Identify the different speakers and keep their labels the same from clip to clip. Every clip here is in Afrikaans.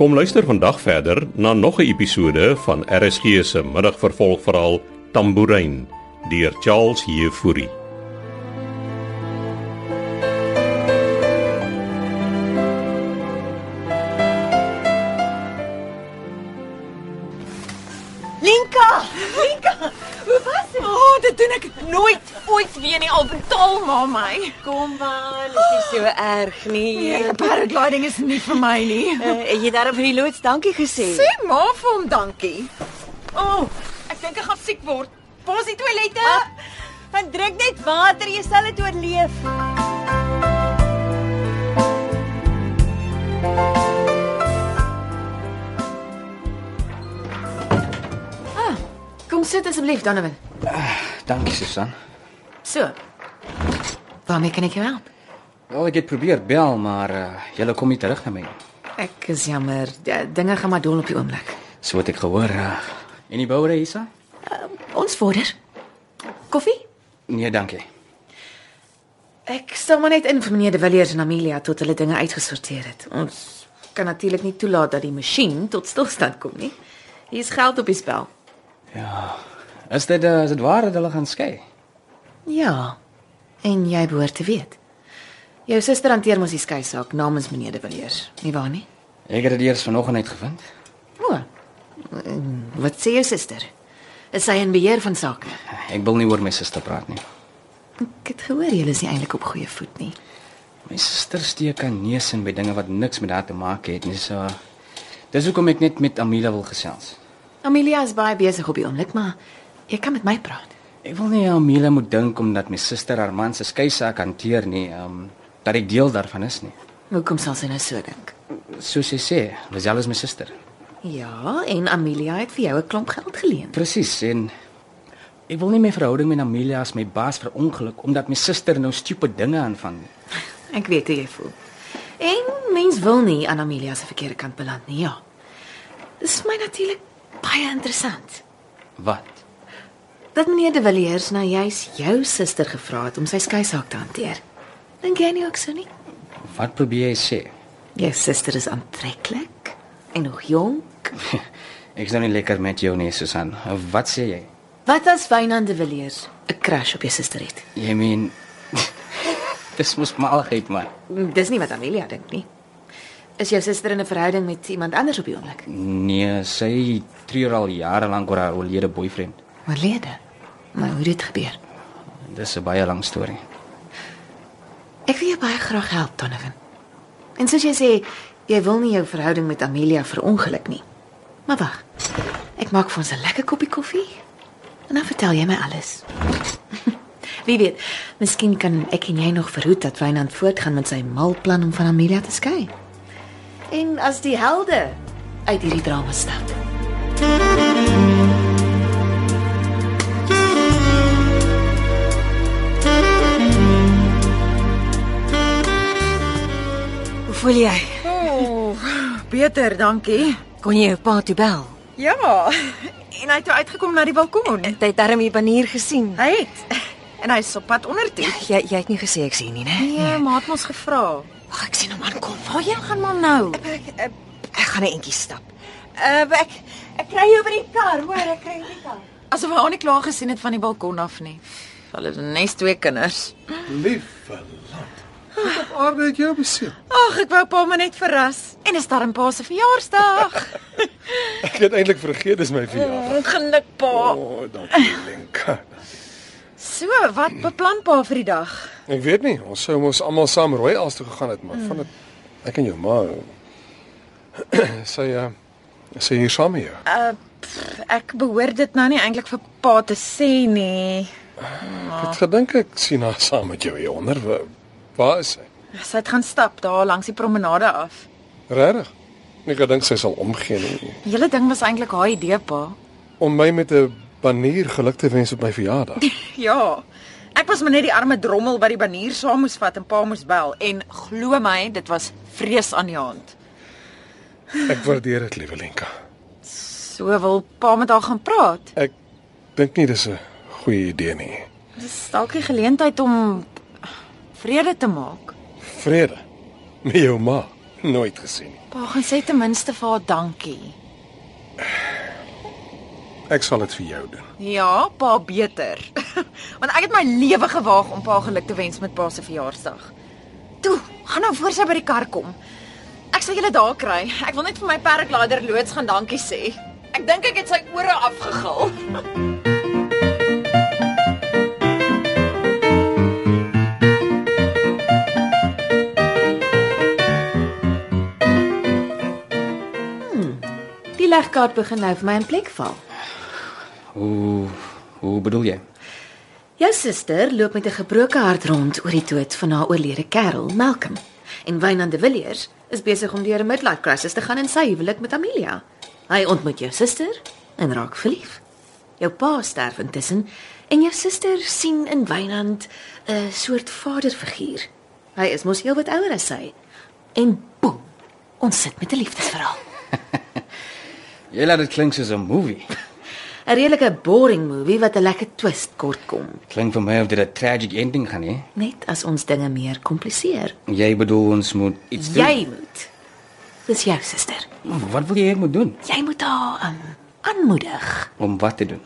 Speaker 1: Kom luister vandag verder na nog 'n episode van RSG se middagvervolgverhaal Tambourine deur Charles Heffury.
Speaker 2: Linka! Linka! Hoe was dit? Oh, dit doen ek nooit ooit weer nie al betaal ma my.
Speaker 3: Kom maar, dit is so erg nie.
Speaker 2: Nee, paragliding is nie vir my nie.
Speaker 3: Eh, het jy daarop vir die loods dankie gesê?
Speaker 2: Sê ma vir hom dankie. O, oh, ek dink ek gaan siek word. Pas die toilette.
Speaker 3: Ah, Gaan drink net water, jy sal dit oorleef.
Speaker 4: Ah, Kom sit asseblief, Donovan.
Speaker 5: Dankie Susan.
Speaker 4: So. Waarmee kan ek jou help?
Speaker 5: Wel ek het probeer bel, maar uh, jy kom nie terug na my nie.
Speaker 4: Ek is jammer, ja, dinge gaan maar dol op die oomblik.
Speaker 5: So het ek gehoor. Uh, en die bouer hiersa?
Speaker 4: Ons vorder. Koffie?
Speaker 5: Nee, dankie.
Speaker 4: Ek stel maar net in vir meneer De Villiers en Amelia tot hulle dinge uitgesorteer het. Ons kan natuurlik nie toelaat dat die masjien tot stilstand kom nie. Hier is geld op die spel.
Speaker 5: Is dit uh, is dit waar dat hulle gaan skei?
Speaker 4: Ja. En jy behoort te weet. Jou suster hanteer mos die skei saak namens meneer De Villiers, nie waar nie?
Speaker 5: Ek het dit eers vanoggend uitgevind.
Speaker 4: O. en Wat sê jou suster? Is sy in beheer van sake?
Speaker 5: Ek wil nie oor my suster praat nie.
Speaker 4: Ek het gehoor julle is nie eintlik op goeie voet nie.
Speaker 5: My suster steek aan neus in by dinge wat niks met haar te maak het nie. So dis hoekom ek net met Amila wil gesels.
Speaker 4: Amelia is baie besig op die oomblik, maar jy kan met my praat.
Speaker 5: Ek wil nie Amila moet dink omdat my suster haar man se skei saak hanteer nie, um, dat ek deel daarvan is nie.
Speaker 4: Hoekom sal sy nou so dink?
Speaker 5: Soos sy sê, Lisel is my suster.
Speaker 4: Ja, en Amelia het vir jou 'n klomp geld geleen.
Speaker 5: Presies en ek wil nie my verhouding met Amelia as my baas verongeluk omdat my suster nou stupid dinge aanvang nie.
Speaker 4: Ek weet hoe jy voel. En mens wil nie aan Amelia se verkeerde kant beland nie, ja. Dis vir my natuurlik baie interessant
Speaker 5: Wat?
Speaker 4: dat meneer De Villiers nou juis jou suster gevra het om sy skei saak te hanteer. Dink jy nie ook so nie?
Speaker 5: Wat probeer jy sê?
Speaker 4: Jou suster is aantreklik en nog jonk.
Speaker 5: Ek's nou nie lekker met jou nie, Susan. Wat sê jy?
Speaker 4: Wat as Wynand de Villiers 'n crush op jou suster het?
Speaker 5: Jy meen Dis mos malheid man.
Speaker 4: Mm, Dis nie wat Amelia dink nie. Is jou suster in 'n verhouding met iemand anders op die oomblik?
Speaker 5: Nee, sy treur al jare lank oor haar oorlede boyfriend.
Speaker 4: Oorlede. Maar hoe dit gebeur?
Speaker 5: Dis 'n baie lang storie.
Speaker 4: Ek wil jou baie graag help, Donovan. En soos jy sê, jy wil nie jou verhouding met Amelia verongeluk nie. Maar wag. Ek maak vir ons 'n lekker koppie koffie en dan vertel jy my alles. Wie weet, miskien kan ek en jy nog verhoed dat Wynand voortgaan met sy mal plan om van Amelia te skei. En as die helde uit hierdie drama stap.
Speaker 3: Hoe voel jy?
Speaker 2: Oh, beter, dankie.
Speaker 3: Kon jy jou pa toe bel?
Speaker 2: Ja. En hy het toe uitgekom na die balkon.
Speaker 3: Het hy darm hier banier gesien?
Speaker 2: Hy het. En hy is op pad onder toe.
Speaker 3: Jy jy het nie gesê ek sien nie, né?
Speaker 2: Nee, ma het ons gevra. Ja,
Speaker 3: Wag, ek sien hom aankom. Waarheen gaan maar nou?
Speaker 2: Ek eh,
Speaker 3: Ek gaan 'n entjie stap. Uh ek ek kry jou by die kar, hoor, ek kry jou by die kar.
Speaker 2: asof hy haar nie klaar gesien het van die balkon af nie. Hulle het nes twee kinders.
Speaker 6: Lieve land. Wat op aarde het jou beseer?
Speaker 2: Ag, ek wou pa maar net verras. En is darm pa se verjaarsdag.
Speaker 6: Ek het eintlik vergeet dis my verjaardag.
Speaker 2: Ongeluk pa.
Speaker 6: O, oh, dankie Lenka.
Speaker 2: So, wat beplan pa vir die dag?
Speaker 6: Ek weet nie, ons sou mos almal saam rooi as toe gegaan het, maar van dit ek en jou ma sê ja, sê hier saam hier.
Speaker 2: Uh pff, ek behoort dit nou nie eintlik vir pa te sê nie.
Speaker 6: Ek het gedink ek sien haar saam met jou hier onder. Wa- Waar is sy?
Speaker 2: Sy het gaan stap daar langs die promenade af.
Speaker 6: Regtig? Ek het gedink sy sal omgee nie.
Speaker 2: Die hele ding was eintlik haar idee pa.
Speaker 6: Om my met 'n banier geluk te wens op my verjaardag.
Speaker 2: Ja. Ek was maar net die arme drommel by die banier saam moes vat en pa moes bel en glo my, dit was vrees aan die hand.
Speaker 6: Ek waardeer dit, liewe Lenka.
Speaker 2: So wil pa met haar gaan praat.
Speaker 6: Ek dink nie dis 'n goeie idee nie.
Speaker 2: Dis dalk die geleentheid om vrede te maak.
Speaker 6: Vrede met jou ma. Nooit gesien nie.
Speaker 2: Pa gaan sê ten minste vir haar dankie.
Speaker 6: Ek sal dit vir jou doen.
Speaker 2: Ja, pa beter. Want ek het my lewe gewaag om pa geluk te wens met pa se verjaarsdag. Toe, gaan nou voor sy by die kar kom. Ek sal julle daar kry. Ek wil net vir my perklader loods gaan dankie sê. Ek dink ek het sy ore afgegil.
Speaker 4: Hmm, Die legkaart begin nou vir my in plek val.
Speaker 5: Hoe hoe bedoel jy?
Speaker 4: Jou suster loop met 'n gebroke hart rond oor die dood van haar oorlede kerel, Malcolm. En Wynand de Villiers is besig om deur 'n midlife crisis te gaan in sy huwelik met Amelia. Hy ontmoet jou suster en raak verlief. Jou pa sterf intussen en jou suster sien in Wynand 'n soort vaderfiguur. Hy is mos heelwat ouer as sy. En boem, ons sit met 'n liefdesverhaal.
Speaker 5: Jy laat dit klink soos 'n movie.
Speaker 4: 'n Redelike boring movie wat 'n lekker twist kort kom,
Speaker 5: Klink vir my of dit 'n tragic ending gaan hê.
Speaker 4: net as ons dinge meer kompliseer.
Speaker 5: Jy bedoel ons moet iets doen.
Speaker 4: Jy moet. Dis jou suster.
Speaker 5: Wat wil jy ek moet doen?
Speaker 4: Jy moet haar um, aanmoedig
Speaker 5: Om wat te doen?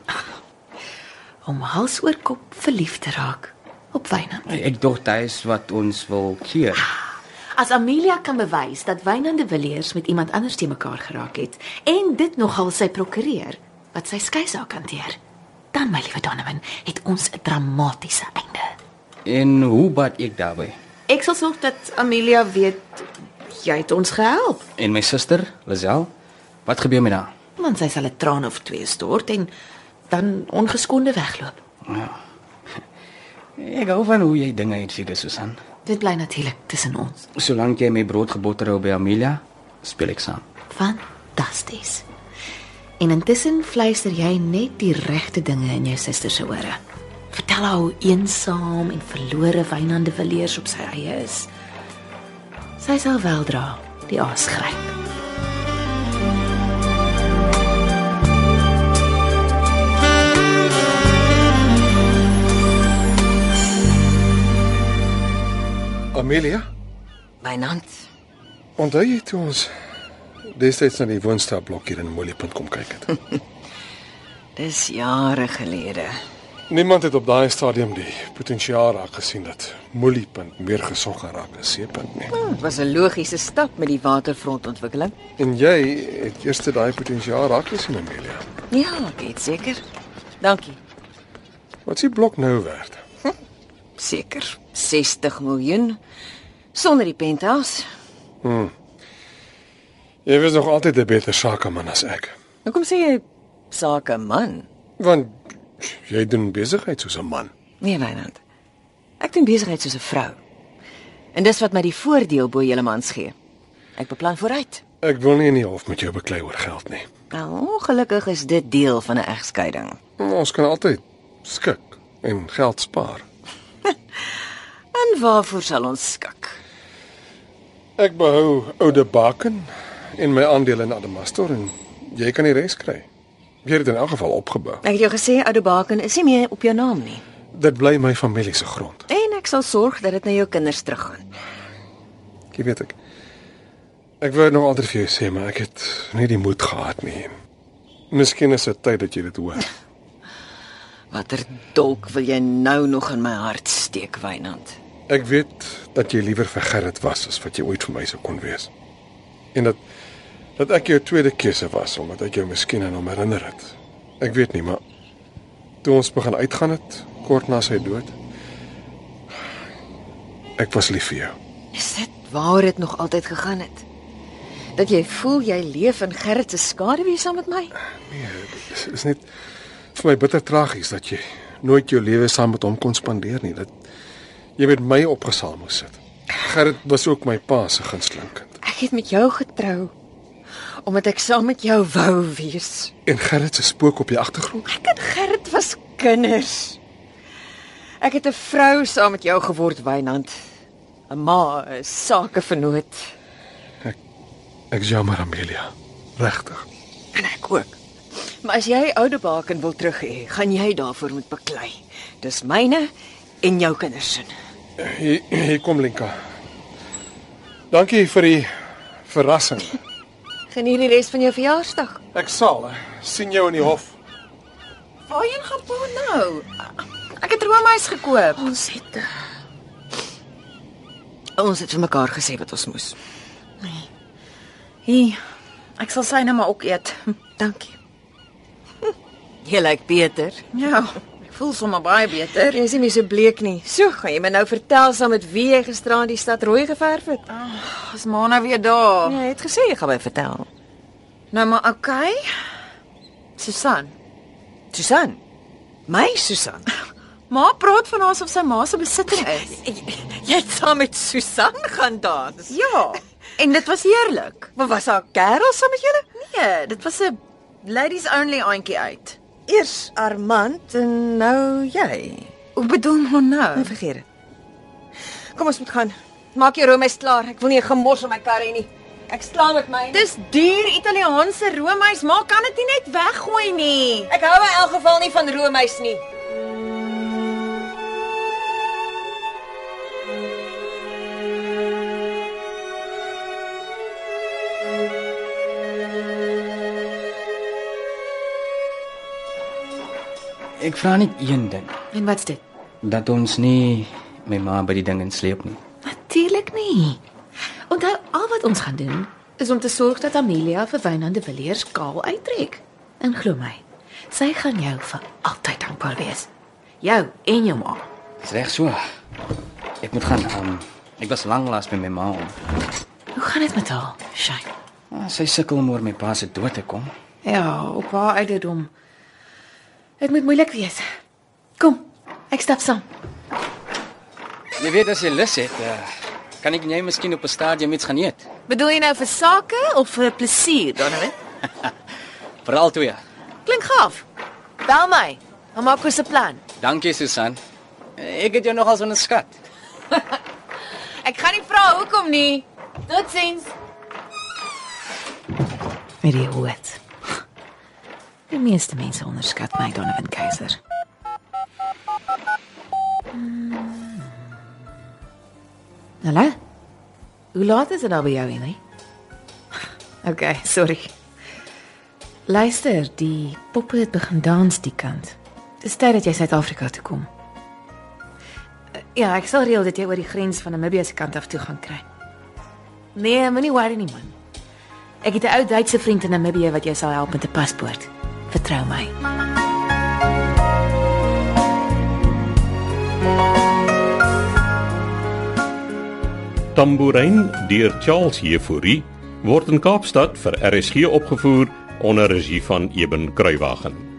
Speaker 4: om hals oor kop verlief te raak op Wynand.
Speaker 5: Ek dink dit is wat ons wil keer.
Speaker 4: As Amelia kan bewys dat Wynand de Villiers met iemand anders te mekaar geraak het en dit nogal sy prokureer wat sy skeisaak hanteer, dan my liewe Donovan, het ons 'n dramatiese einde.
Speaker 5: En hoe bad ek daarbey?
Speaker 4: Ek sal sorg dat Amelia weet jy het ons gehelp,
Speaker 5: En my suster, Lazel, wat gebeur met haar?
Speaker 4: want sy sal 'n traan of twee stort en dan ongeskonde wegloop.
Speaker 5: Ek hou van hoe jy dinge uitfigure, Susan.
Speaker 4: Dit bly natuurlik tussen ons.
Speaker 5: Solank jy my brood geboter hou by Amelia, speel ek saam.
Speaker 4: Fantasties. En intussen fluister jy net die regte dinge in jou suster se ore. Vertel haar hoe eensaam en verlore Wynand de Villiers op sy eie is. Sy sal weldra die aas gryp.
Speaker 6: Amelia,
Speaker 3: Wynand,
Speaker 6: onthou jy toe ons destyds na die woonstelblok hier in Moeliepunt kom kyk het?
Speaker 3: dis jare gelede.
Speaker 6: Niemand het op daai stadium die potensiaal raak gesien dat Moeliepunt meer gesog gaan raak as Seepunt nie.
Speaker 2: Hm.
Speaker 3: Dit was 'n logiese stap met die waterfrontontwikkeling.
Speaker 6: En jy het eers daai potensiaal raak gesien, Amelia.
Speaker 3: Ja, ek weet seker. Dankie.
Speaker 6: Wat is die blok nou werd?
Speaker 3: Seker 60 miljoen sonder die penthouse.
Speaker 6: Jy was nog altyd 'n beter sakeman as ek.
Speaker 3: Hoekom sê jy sake man?
Speaker 6: Want jy doen besigheid soos 'n man.
Speaker 3: Nee, Wynand. Ek doen besigheid soos 'n vrou. En dis wat my die voordeel bo julle mans gee. Ek beplan vooruit.
Speaker 6: Ek wil nie in die hof met jou beklei oor geld nie.
Speaker 3: Nou, ongelukkig is dit deel van 'n egskeiding.
Speaker 6: Ons kan altyd skik en geld spaar.
Speaker 3: En waarvoor sal ons skik?
Speaker 6: Ek behou oude baken en my aandele in Adamastor en jy kan die res kry. Jy het dit in elk geval opgebou.
Speaker 3: Ek het jou gesê Oude Baken is nie meer op jou naam nie.
Speaker 6: Dit bly my familie se grond.
Speaker 3: En ek sal sorg dat dit na jou kinders teruggaan.
Speaker 6: Jy weet ek. Ek wou het nog altyd vir jou sê, maar ek het nie die moed gehad nie. Miskien is dit tyd dat jy dit hoor.
Speaker 3: Watter dolk wil jy nou nog in my hart steek, Wynand?
Speaker 6: Ek weet dat jy liewer vir Gerrit was as wat jy ooit vir my sou kon wees. En dat dat ek jou tweede keuse was omdat ek jou miskien aan hom herinner het. Ek weet nie, maar toe ons begin uitgaan het kort na sy dood, ek was lief vir jou.
Speaker 3: Is dit waar dit nog altyd gegaan het? Dat jy voel jy leef in Gerrit se skaduwee saam met my?
Speaker 6: Dit is net vir my bitter tragies dat jy nooit jou lewe saam met hom kon spandeer nie. Dat jy met my opgesaal moes sit. Gerrit was ook my pa se gunsteling kind.
Speaker 3: Ek het met jou getrou omdat ek saam met jou wou wees.
Speaker 6: En Gerrit se spook op die agtergrond.
Speaker 3: Ek en Gerrit was kinders. Ek het 'n vrou saam met jou geword, Wynand. 'n Ma, 'n sakevernoot
Speaker 6: Ek is jammer Amelia. Regtig.
Speaker 3: en ek ook. Maar as jy oude baken wil terug hê, gaan jy daarvoor moet beklei. Dis myne en jou kinders se.
Speaker 6: Hier, hier kom Lenka. Dankie vir die Verrassing.
Speaker 3: Geniet die res van jou verjaarsdag.
Speaker 6: Ek sal hè. sien jou in die hof.
Speaker 2: Waarheen gaan Pa nou? Ek het roomys gekoop.
Speaker 4: Ons het eh,
Speaker 3: Ons het vir mekaar gesê wat ons moes.
Speaker 2: Hier. Ek sal syne maar ook eet.
Speaker 3: Dankie. Jy lyk beter.
Speaker 2: Ja, ek voel sommer baie beter.
Speaker 3: Jy is nie meer so bleek nie. So, gaan jy my nou vertel saam met wie jy gisteraand die stad rooi geverf het?
Speaker 2: Ah, Is Mana weer daar?
Speaker 3: Jy het gesê jy gaan my vertel.
Speaker 2: Nou maar okay. Susan.
Speaker 3: Susan. My Susan.
Speaker 2: Ma praat van haar asof sy ma se besitting is.
Speaker 3: Jy het saam met Susan gaan dans.
Speaker 2: Ja. En dit was heerlik.
Speaker 3: Maar was haar kerel saam met julle?
Speaker 2: Nee, dit was 'n ladies only aantjie uit.
Speaker 3: Eers Armand en nou jy. Nee,
Speaker 2: Hoe bedoel ma nou?
Speaker 3: Vergeet dit. Kom ons moet gaan. Maak jou roomys klaar. Ek wil nie 'n gemors in my kar hê nie. Ek slaap met my.
Speaker 2: Dis duur Italiaanse roomys, maar kan dit nie net weggooi nie.
Speaker 3: Ek hou in elk geval nie van roomys nie.
Speaker 5: Ek vra net een ding,
Speaker 4: en wat's dit?
Speaker 5: dat ons nie my ma by die ding insleep nie.
Speaker 4: Natuurlik nie. Onthou al wat ons gaan doen is om te sorg dat Amelia vir Wynand de Villiers kaal uittrek. En glo my, sy gaan jou vir altyd dankbaar wees. Jou en jou ma.
Speaker 5: Dis reg so. Ek moet gaan. Um, ek was lank laas by my ma om.
Speaker 4: Hoe gaan dit met haar? Shine.
Speaker 5: Ah, Sy sukkel om oor my pa se dood te kom.
Speaker 4: Ja, op haar ouderdom. Dit moet moeilik wees. Kom, ek stap saam.
Speaker 5: Jy weet as jy lus het, uh, kan ek en jy miskien op 'n stadium iets gaan eet.
Speaker 4: Bedoel jy nou vir sake of vir plesier, Donovan?
Speaker 5: Veral twee.
Speaker 4: Klink gaaf. Bel my. Dan maak ons 'n plan.
Speaker 5: Dankie Susan. E, Ek het jou nogals onderskat.
Speaker 4: Ek gaan nie vra hoekom nie. Totsiens. Met die hoed. Die meeste mense onderskat my Donovan Keiser. Hmm. Hallo. Hoe laat is dit al by jou, Henry? Okay, sorry. Luister, die poppe het begin dans die kant. Dis tyd dat jy Suid-Afrika toe kom. Ja, ek sal reël dat jy oor die grens van Namibië se kant af toe gaan kry. Nee, moenie worry nie man. Ek het 'n ou Duitse vriend in Namibië wat jou sal help met 'n paspoort. Vertrou my.
Speaker 1: Tambourijn deur Charles Jefouri word in Kaapstad vir RSG opgevoer onder regie van Eben Kruiwagen.